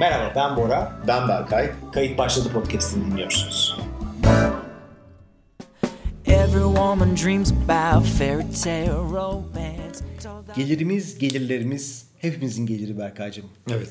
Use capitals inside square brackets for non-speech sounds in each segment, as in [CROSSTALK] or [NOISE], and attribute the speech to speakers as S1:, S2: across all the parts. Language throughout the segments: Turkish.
S1: Merhaba ben Bora.
S2: Ben Berkay.
S1: Kayıt başladı podcast'ini dinliyorsunuz.
S3: Every woman dreams about fairy tale romance.
S4: Gelirimiz, gelirlerimiz hepimizin geliri Berkaycığım.
S2: Evet.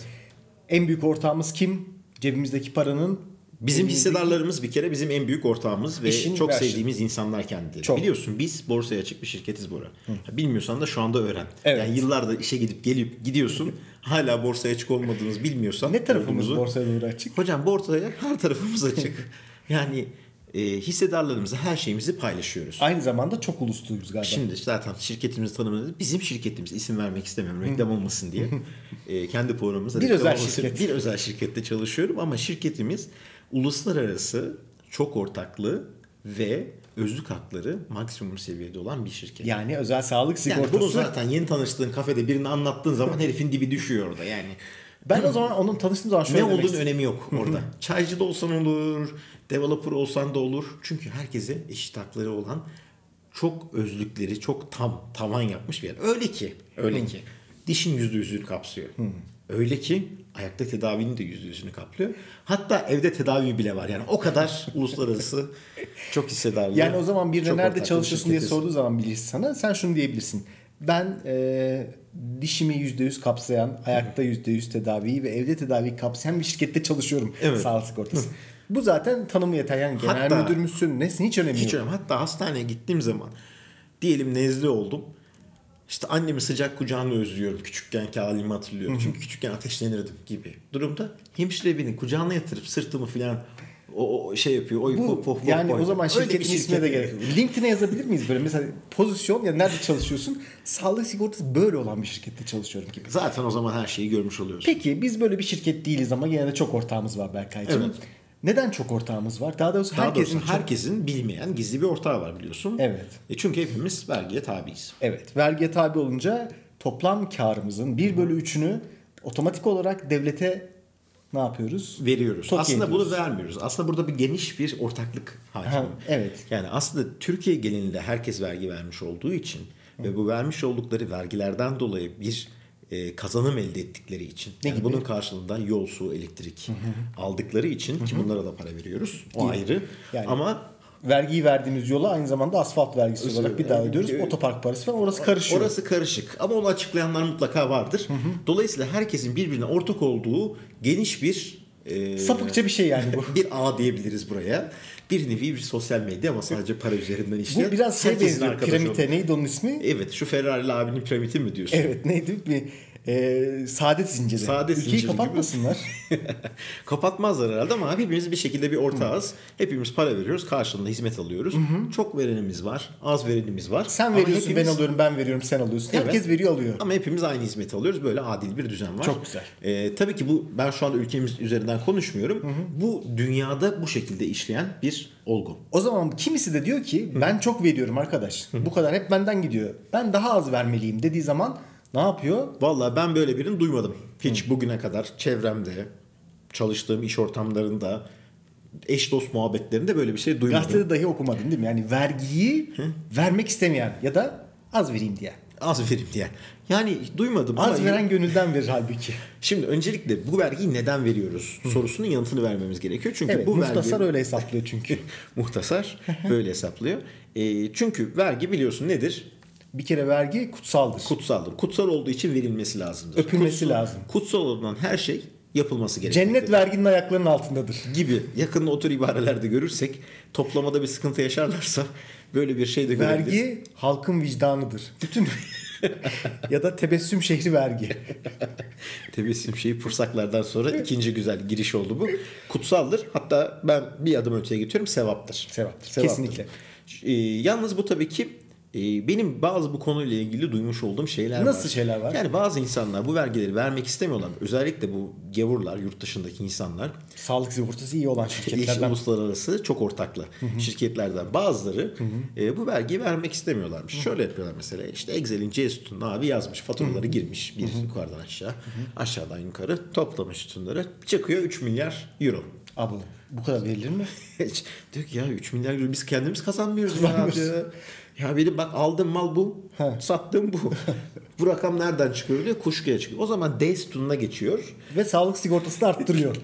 S4: En büyük ortağımız kim? Cebimizdeki paranın
S2: Bizim hissedarlarımız bir kere bizim en büyük ortağımız ve
S4: İşin
S2: çok
S4: başı.
S2: sevdiğimiz insanlar kendileri.
S4: Çok.
S2: Biliyorsun biz borsaya açık bir şirketiz Bora. Ya Bilmiyorsan da şu anda öğren.
S4: Evet.
S2: Yani yıllardır işe gidip
S4: [LAUGHS]
S2: gelip gidiyorsun. hala borsaya açık olmadığınız bilmiyorsan.
S4: ne tarafımız
S2: olduğumuzu-
S4: borsaya doğru açık?
S2: Hocam borsaya
S4: [LAUGHS]
S2: her tarafımız açık. yani e, hissedarlarımızla her şeyimizi paylaşıyoruz.
S4: Aynı zamanda çok ulusluyuz galiba.
S2: Şimdi zaten şirketimizi tanımladı. Bizim şirketimiz isim vermek istemiyorum reklam
S4: [LAUGHS]
S2: olmasın diye. E, kendi programımızda
S4: Bir
S2: reklam
S4: özel
S2: olmasın-
S4: şirket.
S2: Bir özel şirkette çalışıyorum ama şirketimiz uluslararası çok ortaklı ve özlük hakları maksimum seviyede olan bir şirket. Yani,
S4: Yani özel sağlık sigortası.
S2: bunu zaten yeni tanıştığın kafede birini anlattığın zaman herifin dibi düşüyor orada yani.
S4: Ben o zaman onun tanıştığım zaman şöyle
S2: Ne
S4: demek
S2: olduğun
S4: istedim.
S2: önemi yok orada. Çaycı da olsan olur, developer olsan da olur. Çünkü herkese eşit hakları olan çok özlükleri, çok tam tavan yapmış bir yer. Öyle ki, öyle ki dişin yüzde yüzünü kapsıyor. Öyle ki ayakta tedavinin de yüzde yüzünü kaplıyor. Hatta evde tedavi bile var. Yani o kadar
S4: [LAUGHS]
S2: uluslararası çok hissedarlı.
S4: Yani o zaman birine
S2: çok
S4: nerede
S2: ortaklı bir
S4: çalışıyorsun diye
S2: şirketiz.
S4: sorduğu zaman birisi sana sen şunu diyebilirsin. Ben e, dişimi %100 kapsayan, ayakta %100 tedaviyi ve evde tedaviyi kapsayan bir şirkette çalışıyorum.
S2: Evet.
S4: Sağlık sigortası. Bu zaten tanımı yeter. Yani genel
S2: Hatta-
S4: müdür müsün? Nesin? Hiç önemli
S2: Hiç
S4: yok.
S2: önemli. Hatta hastaneye gittiğim zaman diyelim nezle oldum. İşte annemi sıcak kucağını özlüyorum. Küçükkenki halimi hatırlıyorum. Çünkü küçükken ateşlenirdim gibi. Durumda hemşire beni kucağına yatırıp sırtımı filan o, o şey yapıyor. Oy,
S4: Bu
S2: poh, poh, poh,
S4: yani
S2: poh.
S4: o zaman
S2: Öyle bir
S4: şirketin ismine de
S2: şirket.
S4: gerek yok. LinkedIn'e yazabilir miyiz böyle mesela pozisyon ya nerede çalışıyorsun? Sağlık sigortası böyle olan bir şirkette çalışıyorum gibi.
S2: Zaten o zaman her şeyi görmüş oluyorsun.
S4: Peki biz böyle bir şirket değiliz ama gene de çok ortağımız var Berkay'cığım.
S2: Evet.
S4: Neden çok ortağımız var? Daha doğrusu
S2: Daha
S4: herkesin
S2: herkesin,
S4: çok-
S2: herkesin bilmeyen gizli bir ortağı var biliyorsun.
S4: Evet.
S2: E çünkü hepimiz vergiye tabiiz.
S4: Evet vergiye tabi olunca toplam karımızın 1 bölü 3'ünü otomatik olarak devlete ne yapıyoruz?
S2: veriyoruz.
S4: Tokyo
S2: aslında
S4: ediyoruz.
S2: bunu vermiyoruz. Aslında burada bir geniş bir ortaklık hakim.
S4: Ha, evet.
S2: Yani aslında Türkiye genelinde herkes vergi vermiş olduğu için ve bu vermiş oldukları vergilerden dolayı bir e, kazanım elde ettikleri için. yani bunun karşılığında yol, su, elektrik aldıkları için ki bunlara da para veriyoruz. O ayrı.
S4: Yani-
S2: Ama
S4: Vergiyi verdiğimiz yola aynı zamanda asfalt vergisi olarak bir daha ödüyoruz. Otopark parası falan orası karışıyor.
S2: Orası karışık ama onu açıklayanlar mutlaka vardır. Dolayısıyla herkesin birbirine ortak olduğu geniş bir e,
S4: Sapıkça bir şey yani bu.
S2: [LAUGHS] bir ağ diyebiliriz buraya. Bir nevi bir sosyal medya ama sadece para üzerinden işleyen.
S4: Bu biraz şey
S2: herkesin
S4: benziyor
S2: arkadaşı E,
S4: piramite
S2: oldu.
S4: neydi onun ismi?
S2: Evet şu Ferrari'li abinin piramidi mi diyorsun?
S4: Evet neydi bir e, saadet zinciri.
S2: Saadet
S4: Ülkeyi
S2: zinciri [LAUGHS]
S4: kapatmasınlar.
S2: [LAUGHS] Kapatmazlar herhalde ama hepimiz bir şekilde bir ortağız. Hepimiz para veriyoruz karşılığında hizmet alıyoruz. Çok verenimiz var az verenimiz var.
S4: Sen
S2: Ama
S4: veriyorsun
S2: hepimiz-
S4: ben alıyorum ben veriyorum sen alıyorsun.
S2: Evet.
S4: Herkes veriyor alıyor.
S2: Ama hepimiz aynı hizmeti alıyoruz. Böyle adil bir düzen var.
S4: Çok güzel.
S2: Ee, tabii ki bu ben şu anda ülkemiz üzerinden konuşmuyorum. Bu dünyada bu şekilde işleyen bir olgu.
S4: O zaman kimisi de diyor ki ben çok veriyorum arkadaş. Bu kadar hep benden gidiyor. Ben daha az vermeliyim dediği zaman ne yapıyor?
S2: Vallahi ben böyle birini duymadım. Hiç bugüne kadar çevremde, çalıştığım iş ortamlarında, eş dost muhabbetlerinde böyle bir şey duymadım.
S4: Gazetede dahi okumadım değil mi? Yani vergiyi vermek istemeyen ya da az vereyim diyen.
S2: Az verim diye. Yani duymadım.
S4: Az
S2: ama-
S4: veren gönülden verir halbuki.
S2: Şimdi öncelikle bu vergiyi neden veriyoruz sorusunun yanıtını vermemiz gerekiyor. [LAUGHS] Çünkü
S4: Evet
S2: bu
S4: muhtasar
S2: vergi...
S4: öyle hesaplıyor
S2: [LAUGHS]
S4: çünkü.
S2: Muhtasar böyle hesaplıyor. Ee, çünkü vergi biliyorsun nedir?
S4: Bir kere vergi kutsaldır.
S2: Kutsaldır. Kutsal olduğu için verilmesi lazımdır.
S4: Öpülmesi
S2: Kutsal-
S4: lazım.
S2: Kutsal olan her şey yapılması gerekir.
S4: Cennet verginin ayaklarının altındadır.
S2: gibi yakın otur ibarelerde görürsek toplamada bir sıkıntı yaşarlarsa böyle bir şey de görebiliriz.
S4: Vergi halkın vicdanıdır. Bütün [LAUGHS] ya da tebessüm şehri vergi.
S2: Tebessüm şeyi fırsaklardan sonra ikinci güzel giriş oldu bu. Kutsaldır. Hatta ben bir adım öteye geçiyorum. Sevaptır.
S4: Sevaptır, sevaptır.
S2: Kesinlikle. Ee, yalnız bu tabii ki e, benim bazı bu konuyla ilgili duymuş olduğum şeyler var.
S4: Nasıl şeyler var?
S2: Yani bazı insanlar bu vergileri vermek istemiyorlar. Özellikle bu gavurlar, yurt dışındaki insanlar.
S4: Sağlık sigortası iyi olan
S2: Yeşil
S4: şirketlerden.
S2: uluslararası çok ortaklı şirketlerden bazıları e, bu vergiyi vermek istemiyorlarmış. Şöyle yapıyorlar mesela işte Excel'in C-Sütun abi yazmış faturaları girmiş bir yukarıdan aşağı aşağıdan yukarı toplamış sütunları çıkıyor 3 milyar euro.
S4: Abi bu kadar verilir mi?
S2: [LAUGHS] Hiç- Diyor ki ya 3 milyar euro biz kendimiz kazanmıyoruz. ya.
S4: Kazanmıyoruz.
S2: Ya benim bak aldığım mal bu
S4: He.
S2: sattığım bu. Bu rakam nereden çıkıyor diyor. Kuşkuya çıkıyor. O zaman days to'na geçiyor.
S4: Ve sağlık sigortasını
S2: [LAUGHS]
S4: arttırıyor.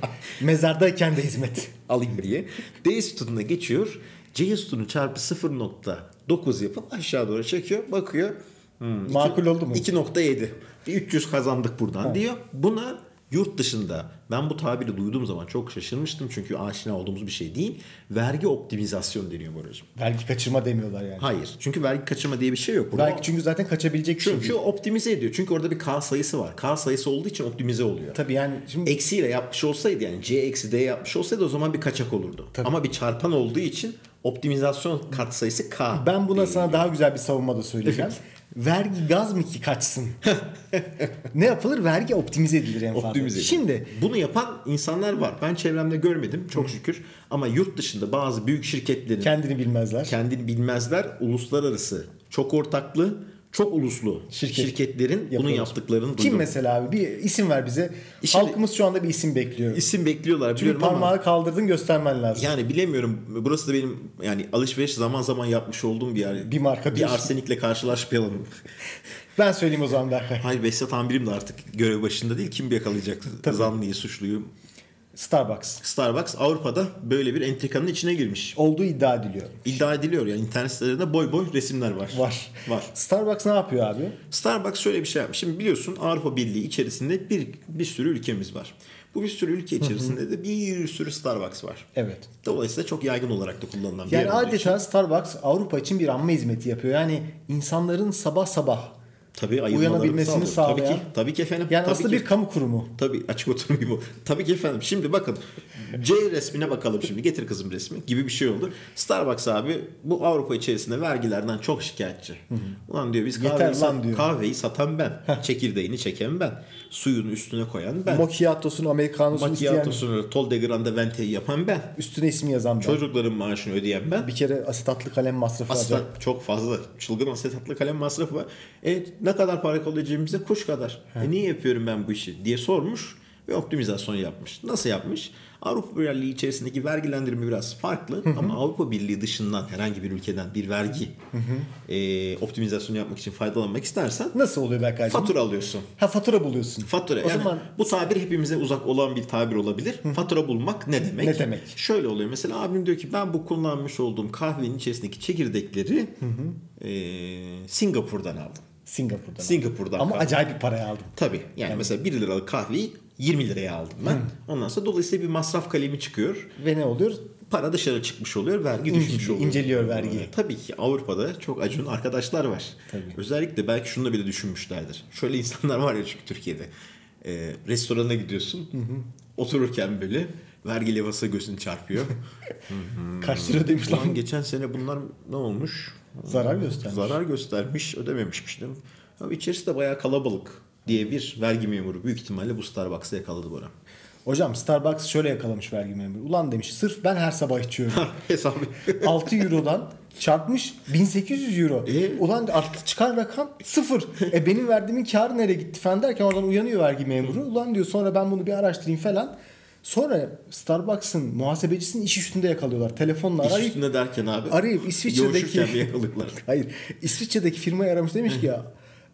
S4: Mezardayken de hizmet.
S2: alayım diye. D sütununa geçiyor. C sütunu çarpı 0.9 yapıp aşağı doğru çekiyor. Bakıyor. Hmm, iki-
S4: Makul oldu mu?
S2: 2.7. Bir 300 kazandık buradan diyor. Buna yurt dışında ben bu tabiri duyduğum zaman çok şaşırmıştım. Çünkü aşina olduğumuz bir şey değil. Vergi optimizasyonu deniyor Boracığım.
S4: Vergi kaçırma demiyorlar yani.
S2: Hayır. Çünkü vergi kaçırma diye bir şey yok. Burada
S4: Vergi çünkü zaten kaçabilecek bir şey
S2: çünkü
S4: değil.
S2: optimize ediyor. Çünkü orada bir K sayısı var. K sayısı olduğu için optimize oluyor
S4: Tabii yani şimdi
S2: eksiyle yapmış olsaydı yani C eksi D yapmış olsaydı o zaman bir kaçak olurdu. Ama bir çarpan olduğu için optimizasyon katsayısı K.
S4: ben buna sana daha güzel bir savunma da söyleyeceğim. Vergi gaz mı ki
S2: [LAUGHS]
S4: kaçsın? ne yapılır? Vergi optimize edilir en fazla.
S2: optimize.
S4: Şimdi
S2: bunu yapan insanlar var. Ben çevremde görmedim çok şükür. Ama yurt dışında bazı büyük şirketlerin
S4: kendini bilmezler.
S2: kendini bilmezler uluslararası çok ortaklı, çok uluslu
S4: Şirket
S2: şirketlerin bunu
S4: yapıyorlar.
S2: yaptıklarını
S4: Kim
S2: duydum.
S4: mesela abi? Bir isim ver bize.
S2: Şimdi-
S4: Halkımız şu anda bir isim bekliyor.
S2: İsim bekliyorlar
S4: Bir
S2: biliyorum ama
S4: parmağı kaldırdın göstermen lazım.
S2: Yani bilemiyorum. Burası da benim yani alışveriş zaman zaman yapmış olduğum bir yer.
S4: Bir marka
S2: bir
S4: diyorsun. [LAUGHS]
S2: arsenikle karşılaşmayalım.
S4: Ben söyleyeyim o zaman Berkay.
S2: Hayır Behzat amirim de artık görev başında değil. Kim yakalayacak zanlıyı, suçluyu?
S4: Starbucks.
S2: Starbucks Avrupa'da böyle bir entrikanın içine girmiş.
S4: Olduğu iddia ediliyor.
S2: İddia ediliyor yani internet sitelerinde boy boy resimler var.
S4: Var.
S2: Var.
S4: Starbucks ne yapıyor abi?
S2: Starbucks şöyle bir şey yapmış. Şimdi biliyorsun Avrupa Birliği içerisinde bir bir sürü ülkemiz var. Bu bir sürü ülke içerisinde de bir sürü Starbucks var.
S4: Evet.
S2: Dolayısıyla çok yaygın olarak da kullanılan bir
S4: Yani
S2: yer olduğu için-
S4: adeta Starbucks Avrupa için bir anma hizmeti yapıyor. Yani insanların sabah sabah
S2: Tabii ayırmalarını
S4: uyanabilmesini
S2: sağlıyor. Tabii ki,
S4: sağlayan-
S2: tabii ki efendim.
S4: yani
S2: tabii
S4: aslında
S2: ki.
S4: bir kamu kurumu.
S2: Tabii açık oturum gibi. o. Tabii ki efendim. Şimdi bakın C resmine bakalım şimdi. Getir kızım resmi gibi bir şey oldu. Starbucks abi bu Avrupa içerisinde vergilerden çok şikayetçi. Ulan diyor biz
S4: Yeter
S2: kahveyi, sat-
S4: lan diyor.
S2: kahveyi satan ben. Çekirdeğini çeken ben. Suyun üstüne koyan ben.
S4: Macchiato'sunu, Americano'sunu isteyen
S2: Macchiato'sunu, Tol de Grande Vente'yi yapan ben.
S4: üstüne isim yazan ben.
S2: Çocukların maaşını ödeyen ben.
S4: Bir kere asetatlı kalem masrafı
S2: Aslan
S4: alacak.
S2: çok fazla. Çılgın asetatlı kalem masrafı var. E, ne kadar para kalıyor cebimizde? Kuş kadar. E, niye yapıyorum ben bu işi diye sormuş ve optimizasyon yapmış. Nasıl yapmış? Avrupa Birliği içerisindeki vergilendirme biraz farklı ama Avrupa Birliği dışından herhangi bir ülkeden bir vergi e, optimizasyonu yapmak için faydalanmak istersen
S4: Nasıl oluyor Berkay'cığım?
S2: fatura alıyorsun.
S4: Ha fatura buluyorsun.
S2: Fatura.
S4: O
S2: yani
S4: zaman
S2: bu tabir hepimize uzak olan bir tabir olabilir. Fatura bulmak ne demek?
S4: Ne demek?
S2: Şöyle oluyor. Mesela abim diyor ki ben bu kullanmış olduğum kahvenin içerisindeki çekirdekleri eee, Singapur'dan aldım.
S4: Singapur'dan.
S2: Singapur'dan
S4: Ama
S2: kaldı.
S4: acayip bir paraya aldım.
S2: Tabii. Yani, mesela 1 liralık kahveyi 20 liraya aldım ben. Ondan sonra dolayısıyla bir masraf kalemi çıkıyor.
S4: Ve ne oluyor?
S2: Para dışarı çıkmış oluyor, vergi
S4: İnce-
S2: düşmüş oluyor.
S4: inceliyor vergiyi.
S2: Ee, Tabii ki Avrupa'da çok acun arkadaşlar var. Özellikle belki şunu da bile düşünmüşlerdir. Şöyle insanlar var ya çünkü Türkiye'de. Ee, restorana gidiyorsun, otururken böyle vergi levhası gözün
S4: [LAUGHS]
S2: çarpıyor.
S4: Kaç lira demiş
S2: Ulan
S4: lan.
S2: geçen sene bunlar ne olmuş?
S4: Zarar göstermiş.
S2: Zarar göstermiş, ödememişmiş değil mi? Ama içerisi de bayağı kalabalık diye bir vergi memuru büyük ihtimalle bu Starbucks'ı yakaladı bana.
S4: Hocam Starbucks şöyle yakalamış vergi memuru. Ulan demiş sırf ben her sabah içiyorum.
S2: [LAUGHS] [LAUGHS] Hesabı.
S4: 6 eurodan çarpmış 1800 euro.
S2: E?
S4: Ulan artık çıkan rakam sıfır. E benim verdiğimin karı nereye gitti falan derken oradan uyanıyor vergi memuru. Ulan diyor sonra ben bunu bir araştırayım falan. Sonra Starbucks'ın muhasebecisinin iş üstünde yakalıyorlar. Telefonla
S2: [LAUGHS] İş
S4: arayıp
S2: üstünde derken abi.
S4: arayıp İsviçre'deki-
S2: yoğuşurken bir yakalıyorlar.
S4: Hayır. İsviçre'deki firmayı aramış demiş ki ya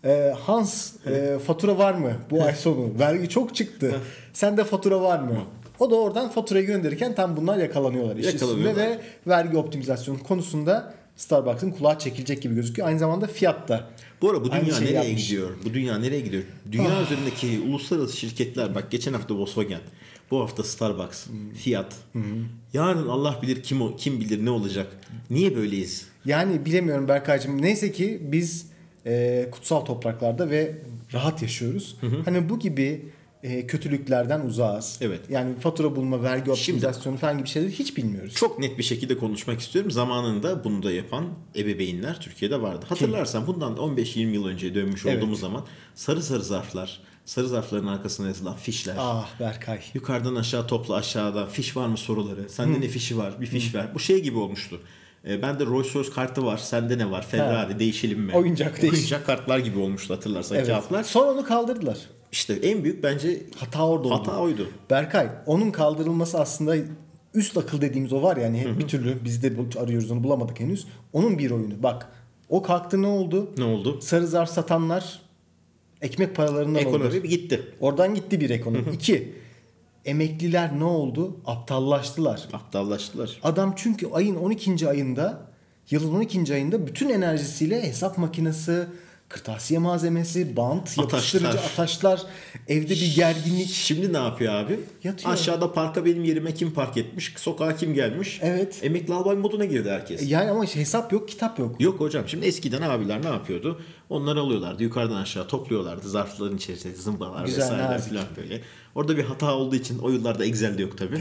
S4: e, Hans e, fatura var mı bu ay sonu? Vergi çok çıktı. Sende fatura var mı? O da oradan faturayı gönderirken tam bunlar yakalanıyorlar. iş üstünde
S2: Yakalanıyorlar.
S4: ve vergi optimizasyonu konusunda Starbucks'ın kulağı çekilecek gibi gözüküyor. Aynı zamanda fiyat da.
S2: Bu ara bu
S4: Aynı
S2: dünya
S4: şeyi
S2: nereye
S4: yapmış. Ah.
S2: gidiyor? Bu dünya nereye gidiyor? Dünya üzerindeki uluslararası şirketler bak geçen hafta Volkswagen, bu hafta Starbucks, Fiat. Yarın Allah bilir kim o, kim bilir ne olacak. Niye böyleyiz?
S4: Yani bilemiyorum Berkay'cığım. Neyse ki biz e, kutsal topraklarda ve rahat yaşıyoruz. Hani bu gibi e, kötülüklerden uzağız.
S2: Evet.
S4: Yani fatura bulma, vergi optimizasyonu falan gibi şeyleri hiç bilmiyoruz.
S2: Çok net bir şekilde konuşmak istiyorum. Zamanında bunu da yapan ebeveynler Türkiye'de vardı. Hatırlarsan bundan 15-20 yıl önce dönmüş
S4: Evet.
S2: olduğumuz zaman sarı sarı zarflar, sarı zarfların arkasına yazılan fişler.
S4: Ah Berkay.
S2: Yukarıdan aşağı topla aşağıda fiş var mı soruları. Sende ne fişi var? Bir fiş ver. Bu şey gibi olmuştu. E, bende Rolls Royce kartı var. Sende ne var? Ferrari değişelim mi?
S4: Oyuncak değiş.
S2: Oyuncak kartlar gibi olmuştu hatırlarsan
S4: Evet.
S2: kağıtlar.
S4: Sonra onu kaldırdılar.
S2: İşte en büyük bence
S4: Hata orada oldu.
S2: Hata oydu.
S4: Berkay onun kaldırılması aslında üst akıl dediğimiz o var yani bir türlü biz de bu- arıyoruz onu bulamadık henüz. Onun bir oyunu bak. O kalktı ne oldu?
S2: ne oldu?
S4: Sarı zarf satanlar Ekmek paralarından oldu.
S2: Ekonomi gitti.
S4: Oradan gitti bir ekonomi. İki, emekliler ne oldu? Aptallaştılar.
S2: Aptallaştılar.
S4: Adam çünkü ayın 12. ayında, yılın 12. ayında bütün enerjisiyle hesap makinesi, kırtasiye malzemesi, bant, yapıştırıcı
S2: Ataşlar.
S4: ataşlar, evde bir gerginlik.
S2: Şimdi ne yapıyor abi?
S4: Yatıyor.
S2: Aşağıda parka benim yerime kim park etmiş? Sokağa kim gelmiş?
S4: Evet.
S2: Emekli albay moduna girdi herkes.
S4: Yani ama işte hesap yok, kitap yok.
S2: Yok hocam şimdi eskiden abiler ne yapıyordu? Onları alıyorlardı yukarıdan aşağı topluyorlardı zarfların içerisinde zımbalar
S4: Güzel,
S2: vesaireler
S4: nazik.
S2: filan böyle. Orada bir hata olduğu için o yıllarda Excel'de yok tabii.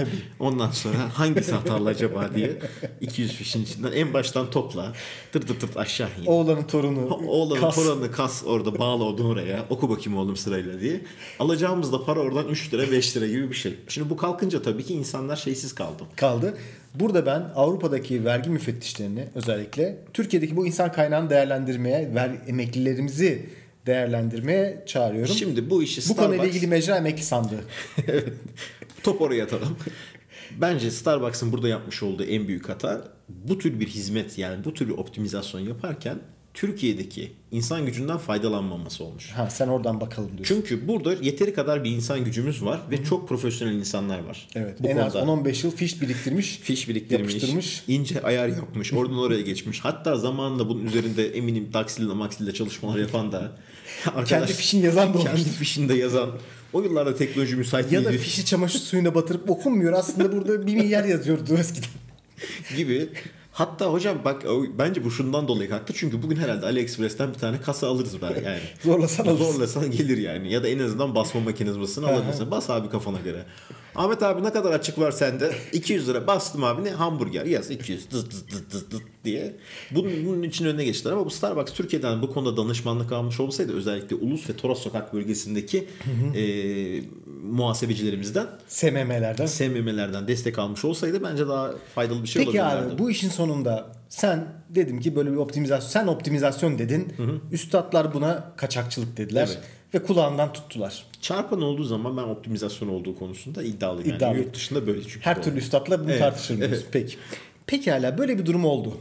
S4: [LAUGHS]
S2: Ondan sonra hangisi hatalı acaba diye 200 fişin içinden en baştan topla dır dır dır aşağı in.
S4: Oğlanın torunu.
S2: [LAUGHS] Oğlanın
S4: kas.
S2: toranını kas orada bağla onu oraya oku bakayım oğlum sırayla diye. Alacağımız da para oradan 3 lira 5 lira gibi bir şey. Şimdi bu kalkınca tabii ki insanlar şeysiz kaldı.
S4: kaldı. Burada ben Avrupa'daki vergi müfettişlerini özellikle Türkiye'deki bu insan kaynağını değerlendirmeye, ver, emeklilerimizi değerlendirmeye çağırıyorum.
S2: Şimdi bu işi
S4: bu konuyla
S2: Starbucks-
S4: ilgili mecra emekli sandığı.
S2: Top oraya atalım. Bence Starbucks'ın burada yapmış olduğu en büyük hata bu tür bir hizmet yani bu tür bir optimizasyon yaparken Türkiye'deki insan gücünden faydalanmaması olmuş.
S4: Ha, sen oradan bakalım diyorsun.
S2: Çünkü burada yeteri kadar bir insan gücümüz var ve çok profesyonel insanlar var.
S4: Evet.
S2: Bu
S4: en az
S2: konuda.
S4: 10-15 yıl fiş biriktirmiş.
S2: fiş biriktirmiş,
S4: Yapıştırmış.
S2: ince ayar yapmış, oradan oraya geçmiş. Hatta zamanında bunun üzerinde eminim Daxil'le Maxil'le çalışmalar yapan da arkadaş,
S4: Kendi fişini yazan da olmuş.
S2: kendi fişinde yazan. O yıllarda teknoloji müsait
S4: Ya da
S2: değildi.
S4: fişi çamaşır suyuna batırıp okunmuyor. Aslında burada bir milyar yazıyordu
S2: [LAUGHS]
S4: eskiden.
S2: gibi. Hatta hocam bak o- bence bu şundan dolayı kalktı. Çünkü bugün herhalde AliExpress'ten bir tane kasa alırız ben
S4: [LAUGHS]
S2: yani.
S4: Zorlasan
S2: [LAUGHS]
S4: alırsın.
S2: Zorlasan gelir yani. Ya da en azından basma mekanizmasını alabilirsin. Bas abi kafana göre. Ahmet abi ne kadar açık var sende? 200 lira bastım abi ne? Hamburger yaz 200 dıt dıt dıt dıt dıt diye. Bunun, bunun için önüne geçtiler ama bu Starbucks Türkiye'den bu konuda danışmanlık almış olsaydı özellikle Ulus ve Toros Sokak bölgesindeki eee, muhasebecilerimizden
S4: SMM'lerden.
S2: Şey SMM'lerden destek almış olsaydı bence daha faydalı bir şey
S4: Peki
S2: olabilirdi.
S4: abi bu işin sonunda sen dedim ki böyle bir optimizasyon sen optimizasyon dedin. Üstatlar buna kaçakçılık dediler
S2: Evet.
S4: ve kulağından tuttular.
S2: Çarpan olduğu zaman ben optimizasyon olduğu konusunda iddialıyım.
S4: İddialı.
S2: Yani yurt dışında böyle çünkü.
S4: Her türlü üstatla bunu
S2: Evet,
S4: tartışır mıyız?
S2: evet.
S4: Peki. Pekala böyle bir durum oldu.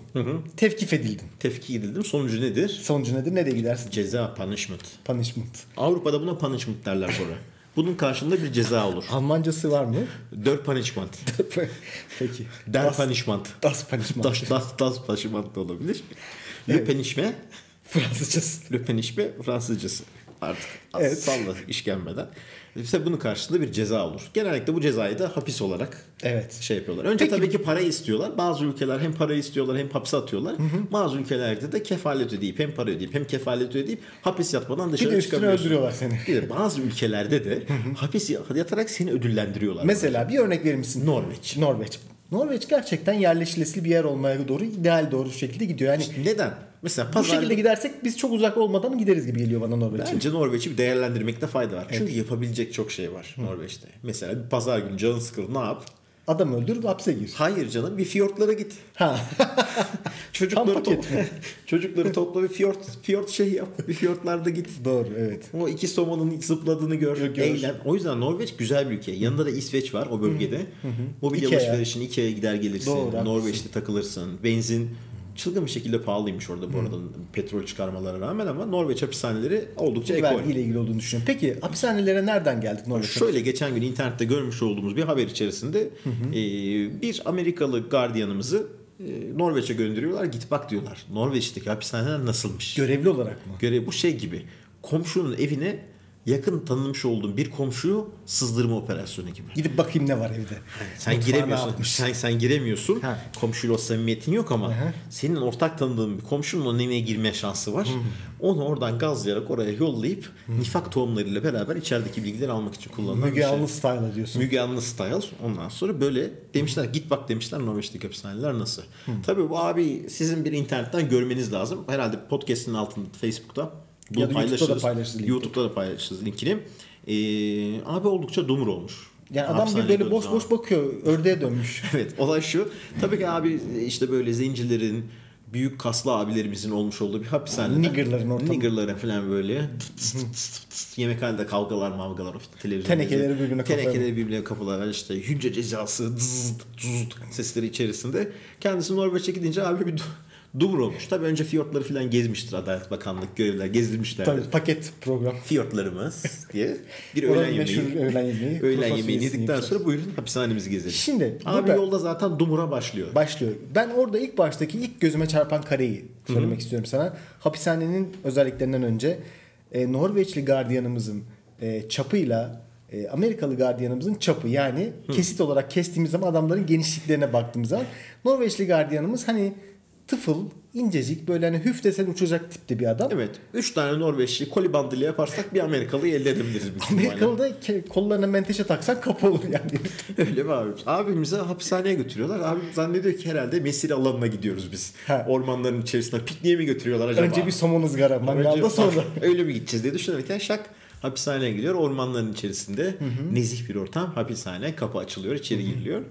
S4: Tevkif edildin.
S2: Tefki edildim. Sonucu nedir?
S4: Sonucu nedir? Nereye gidersin?
S2: Ceza, punishment.
S4: Punishment.
S2: Avrupa'da buna punishment derler sonra. Bunun karşılığında bir ceza olur.
S4: Almancası var
S2: [LAUGHS]
S4: mı?
S2: Der punishment.
S4: Peki.
S2: Der
S4: Das-
S2: punishment.
S4: Das Punishment.
S2: Das, das, das punishment da olabilir. Le penişme.
S4: Fransızcası.
S2: Le penişme Fransızcası. Artık
S4: Evet.
S2: salla işkenmeden. İşte bunun karşılığında bir ceza olur. Genellikle bu cezayı da hapis olarak
S4: Evet.
S2: şey yapıyorlar. Önce
S4: Peki-
S2: tabii ki para istiyorlar. Bazı ülkeler hem para istiyorlar hem hapse atıyorlar. Bazı ülkelerde de kefalet ödeyip hem para ödeyip hem kefalet ödeyip hapis yatmadan
S4: Bir de
S2: dışarı
S4: üstüne
S2: çıkamıyorsun.
S4: öldürüyorlar seni.
S2: Bir de bazı ülkelerde de hapis yatarak seni ödüllendiriyorlar.
S4: Mesela bir örnek verir misin?
S2: Norveç.
S4: Norveç. Norveç gerçekten yerleşilesi bir yer olmaya doğru ideal doğru şekilde gidiyor. Yani
S2: Neden? Mesela
S4: bu
S2: pazar...
S4: şekilde gidersek biz çok uzak olmadan gideriz gibi geliyor bana Norveç'e.
S2: Bence Norveç'i bir değerlendirmekte fayda var. Çünkü yapabilecek çok şey var Norveç'te. Mesela bir pazar günü canın sıkıldı ne yap?
S4: Adam öldür hapse gir.
S2: Hayır canım bir fiyortlara git.
S4: Ha. Tam
S2: Çocukları,
S4: paket
S2: topla, [LAUGHS] çocukları topla bir fiyort, fiyort şey yap. Bir fiyortlarda git.
S4: [LAUGHS] doğru evet.
S2: O iki somonun zıpladığını gör,
S4: Gör.
S2: eğlen. O yüzden Norveç güzel bir ülke. Yanında da İsveç var o bölgede. Mobilya
S4: Ikea.
S2: alışverişin Ikea'ya gider gelirsin.
S4: Doğru, haklısın.
S2: Norveç'te takılırsın. Benzin çılgın bir şekilde pahalıymış orada bu arada petrol çıkarmalara rağmen ama Norveç hapishaneleri oldukça ekol.
S4: Vergiyle ilgili olduğunu düşünüyorum. Peki hapishanelere nereden geldik Norveç'e?
S2: Şöyle geçen gün internette görmüş olduğumuz bir haber içerisinde e, bir Amerikalı gardiyanımızı e, Norveç'e gönderiyorlar. Git bak diyorlar. Norveç'teki hapishaneler nasılmış?
S4: Görevli olarak mı?
S2: Görev bu şey gibi. Komşunun evine yakın tanınmış olduğun bir komşuyu sızdırma operasyonu gibi.
S4: Gidip bakayım ne var evde.
S2: Sen
S4: Mutfağı ne
S2: giremiyorsun.
S4: yapmış?
S2: Sen, sen giremiyorsun.
S4: Ha.
S2: Komşuyla o samimiyetin yok ama senin ortak tanıdığın bir komşunun onun evine girme şansı var. Onu oradan gazlayarak oraya yollayıp nifak tohumlarıyla beraber içerideki bilgileri almak için kullanılan bir
S4: Müge
S2: şey.
S4: Anlı style'a diyorsun.
S2: Müge Anlı Style. Ondan sonra böyle demişler git bak demişler Norveç'teki hapishaneler nasıl.
S4: Hmm.
S2: Tabii bu abi sizin bir internetten görmeniz lazım. Herhalde podcast'in altında Facebook'ta bunu
S4: Ya da YouTube'da da
S2: paylaşırız.
S4: paylaşırız linki.
S2: YouTube'da da paylaşırız linkini. Ee, abi oldukça dumur olmuş.
S4: yani adam bir
S2: Hapishaneye
S4: böyle
S2: döndüğü
S4: boş
S2: zaman.
S4: boş bakıyor. Ördeğe dönmüş.
S2: [LAUGHS] Evet olay şu. Tabii ki abi işte böyle zencilerin büyük kaslı abilerimizin olmuş olduğu bir hapishane.
S4: Niggerların ortamı.
S2: Niggerların falan
S4: [LAUGHS]
S2: böyle tıt tıt tıt tıt tıt yemekhanede kavgalar mavgalar televizyon.
S4: Tenekeleri birbirine kapıyorlar.
S2: Tenekeleri birbirine kapılar işte hücre cezası zzz, zzz sesleri içerisinde. Kendisi Norveç'e gidince abi bir du- Dubro olmuş. Tabii önce fiyortları falan gezmiştir Adalet Bakanlık görevliler gezdirmişlerdir.
S4: Tabii paket program.
S2: Fiyortlarımız diye bir
S4: Oranın
S2: öğlen yemeği.
S4: meşhur öğlen yemeği. Kuru
S2: Öğlen
S4: fasulyesini
S2: yemeğini yedikten
S4: yemişler.
S2: sonra buyurun hapishanemizi gezelim.
S4: Şimdi
S2: Abi
S4: burada-
S2: yolda zaten dumura başlıyor.
S4: Başlıyor. Ben orada ilk baştaki ilk gözüme çarpan kareyi söylemek istiyorum sana. Hapishanenin özelliklerinden önce e, Norveçli gardiyanımızın e, çapıyla e, Amerikalı gardiyanımızın çapı yani kesit olarak kestiğimiz zaman adamların genişliklerine baktığımız zaman Norveçli gardiyanımız hani tıfıl, incecik böyle hani hüf desen uçacak tipte bir adam.
S2: Evet. Üç tane Norveçli koli bandıyla yaparsak bir Amerikalıyı elde edebiliriz. büyük ihtimalle.
S4: Amerikalı da ke- kollarına menteşe taksan kapı olur yani.
S2: [LAUGHS] Öyle mi abi? Abimizi hapishaneye götürüyorlar. Abi zannediyor ki herhalde mesir alanına gidiyoruz biz.
S4: Ha.
S2: Ormanların içerisine pikniğe mi götürüyorlar acaba?
S4: Önce bir somon ızgara mangalda
S2: Önce-
S4: sonra.
S2: [LAUGHS] Öyle mi gideceğiz diye düşünürken şak hapishaneye gidiyor. Ormanların içerisinde nezih bir ortam. Hapishane kapı açılıyor içeri giriliyor.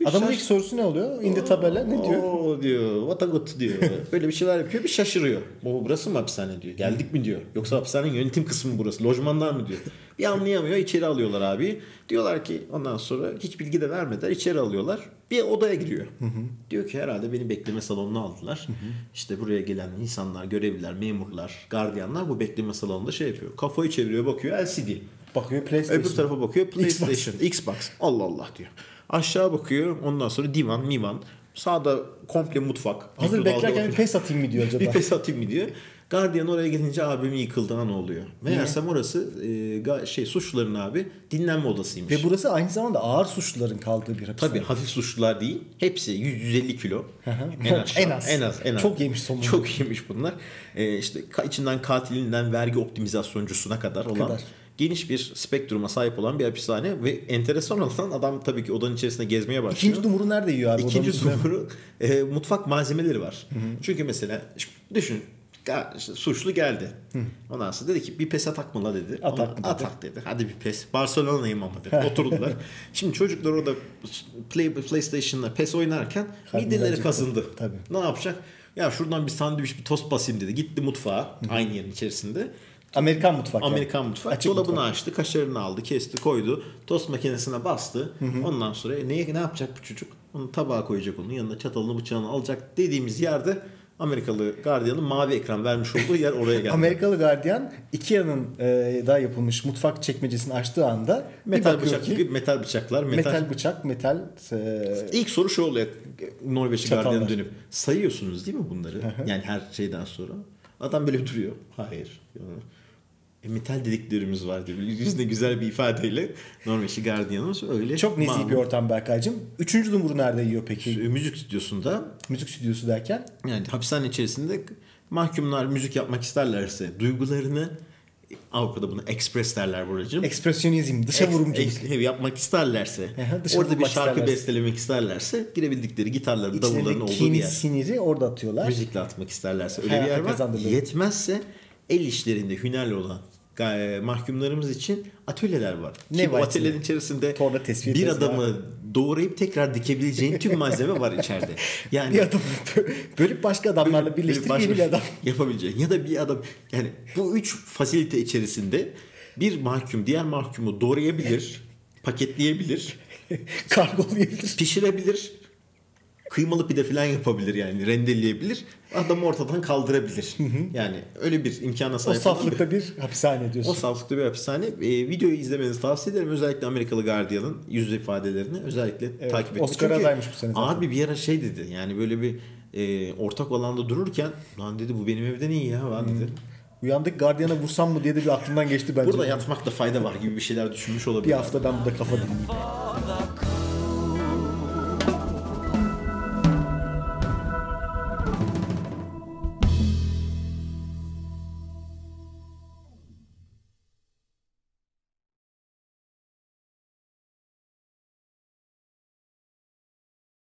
S2: Bir
S4: Adamın
S2: şaş-
S4: ilk sorusu ne oluyor? İndi tabela ne diyor?
S2: Oo diyor. What a good
S4: [LAUGHS]
S2: diyor. Böyle bir şeyler yapıyor. Bir şaşırıyor. Bu burası mı hapishane diyor. Geldik mi diyor. Yoksa hapishanenin yönetim kısmı mı burası. Lojmanlar mı diyor. Bir anlayamıyor. içeri alıyorlar abi. Diyorlar ki ondan sonra hiç bilgi de vermediler. içeri alıyorlar. Bir odaya giriyor. Diyor ki herhalde beni bekleme salonuna aldılar. İşte buraya gelen insanlar, görevliler, memurlar, gardiyanlar bu bekleme salonunda şey yapıyor. Kafayı çeviriyor bakıyor LCD.
S4: Bakıyor PlayStation.
S2: Öbür tarafa bakıyor PlayStation, Xbox. Allah Allah diyor. Aşağı bakıyor ondan sonra divan, mivan. Sağda komple mutfak.
S4: Hazır
S2: mikrodalga
S4: beklerken bir
S2: oturuyor.
S4: pes atayım mı diyor acaba?
S2: bir pes atayım mı diyor. Guardian oraya gidince abimi yıkıldı ne oluyor. Meğersem orası e, ga- şey suçluların abi dinlenme odasıymış.
S4: Ve burası aynı zamanda ağır suçluların kaldığı bir hapishane.
S2: Tabii hafif suçlular değil. Hepsi 100-150 kilo. en,
S4: [LAUGHS]
S2: aşağı,
S4: En az.
S2: en az. en az.
S4: Çok yemiş somunu.
S2: Çok yemiş bunlar. Ee, işte ka- içinden katilinden vergi optimizasyoncu'suna kadar olan
S4: Kadar.
S2: geniş bir spektruma sahip olan bir hapishane ve enteresan olan adam tabii ki odanın içerisinde gezmeye başlıyor.
S4: İkinci dumuru nerede yiyor abi? Odanın
S2: İkinci
S4: üstüne-
S2: doğru e, mutfak malzemeleri var. Çünkü mesela şimdi düşün ga- işte suçlu geldi. Ondan sonra dedi ki bir pes atak mı la dedi.
S4: Atak mı
S2: Ona,
S4: dedi?
S2: atak dedi. Hadi bir pes. Barcelona'yım
S4: [LAUGHS]
S2: ama dedi. Oturdular. şimdi çocuklar orada play, PlayStation'la pes oynarken
S4: Kalbim
S2: mideleri
S4: acıktı.
S2: kazındı.
S4: Tabii.
S2: Ne yapacak? Ya şuradan bir sandviç bir tost basayım dedi. Gitti mutfağa aynı yerin içerisinde.
S4: Amerikan mutfak. yani.
S2: Amerikan mutfağı.
S4: Açık
S2: Dolabını
S4: mutfak.
S2: açtı, kaşarını aldı, kesti, koydu. Tost makinesine bastı. Ondan sonra neye ne yapacak bu çocuk? Onu tabağa koyacak onun yanına çatalını bıçağını alacak dediğimiz yerde Amerikalı gardiyanın mavi ekran vermiş olduğu yer oraya geldi.
S4: Amerikalı gardiyan Ikea'nın e, daha yapılmış mutfak çekmecesini açtığı anda bir
S2: metal
S4: bakıyor
S2: bıçak
S4: ki,
S2: gibi metal bıçaklar, metal,
S4: metal, bıçak, metal e,
S2: İlk soru şu oluyor Norveçli
S4: Çatallar.
S2: gardiyana dönüp. Sayıyorsunuz değil mi bunları? yani her şeyden sonra. Adam böyle duruyor. Hayır. E, metal dediklerimiz var diyor. Yüzünde güzel bir ifadeyle Norveçli gardiyanımız öyle.
S4: çok nezih
S2: mağlup.
S4: bir ortam Berkay'cığım. Üçüncü dumuru nerede yiyor peki?
S2: E, müzik stüdyosunda
S4: Müzik stüdyosu derken.
S2: yani hapishane içerisinde mahkumlar müzik yapmak isterlerse duygularını Avrupa'da bunu express derler buracığım.
S4: Ekspresyonizm, dışa
S2: Ex-
S4: vurumculuk.
S2: ex- yapmak isterlerse,
S4: Aha, dışa
S2: orada bir
S4: vurmak
S2: şarkı
S4: isterlerse.
S2: bestelemek isterlerse girebildikleri gitarların, davulların
S4: İçlerindeki
S2: olduğu bir
S4: kini,
S2: yer.
S4: siniri orada atıyorlar.
S2: Müzikle atmak isterlerse öyle bir
S4: Hayata
S2: yer var.
S4: kazandırılıyor.
S2: Yetmezse el işlerinde hünerli olan e, mahkumlarımız için atölyeler var.
S4: Ne
S2: Ki bu
S4: var
S2: atölyelerin
S4: içinde?
S2: içerisinde
S4: Torna tesviye
S2: bir
S4: tezgahı.
S2: adamı doğrayıp tekrar dikebileceğin tüm malzeme var
S4: [LAUGHS]
S2: içeride. Yani
S4: Bir adam bölüp başka adamlarla birleştirip yeni bir adam.
S2: [LAUGHS]
S4: [LAUGHS]
S2: yapabileceğin ya da bir adam yani bu üç fasilite içerisinde bir mahkum diğer mahkumu doğrayabilir, paketleyebilir,
S4: Kargolayabilir.
S2: pişirebilir. Kıymalı pide falan yapabilir yani rendeleyebilir. Adamı ortadan kaldırabilir. yani öyle bir imkana
S4: O
S2: sahip. olan
S4: saflıkta bir hapishane
S2: bir- o
S4: diyorsun.
S2: saflıkta bir hapishane. Ee, videoyu izlemenizi tavsiye ederim. Özellikle Amerikalı Guardian'ın yüz ifadelerini özellikle takip ettim.
S4: Oscar
S2: Çünkü
S4: adaymış bu sene zaten.
S2: Abi bir ara şey dedi yani böyle bir e, ortak alanda dururken lan dedi bu benim evden iyi ya lan dedi.
S4: Hmm. Uyandık gardiyana vursam mı diye de bir aklımdan geçti bence.
S2: Burada yatmakta fayda var gibi bir şeyler düşünmüş olabilir.
S4: bir hafta ben burada kafa dinleyeyim.
S3: for the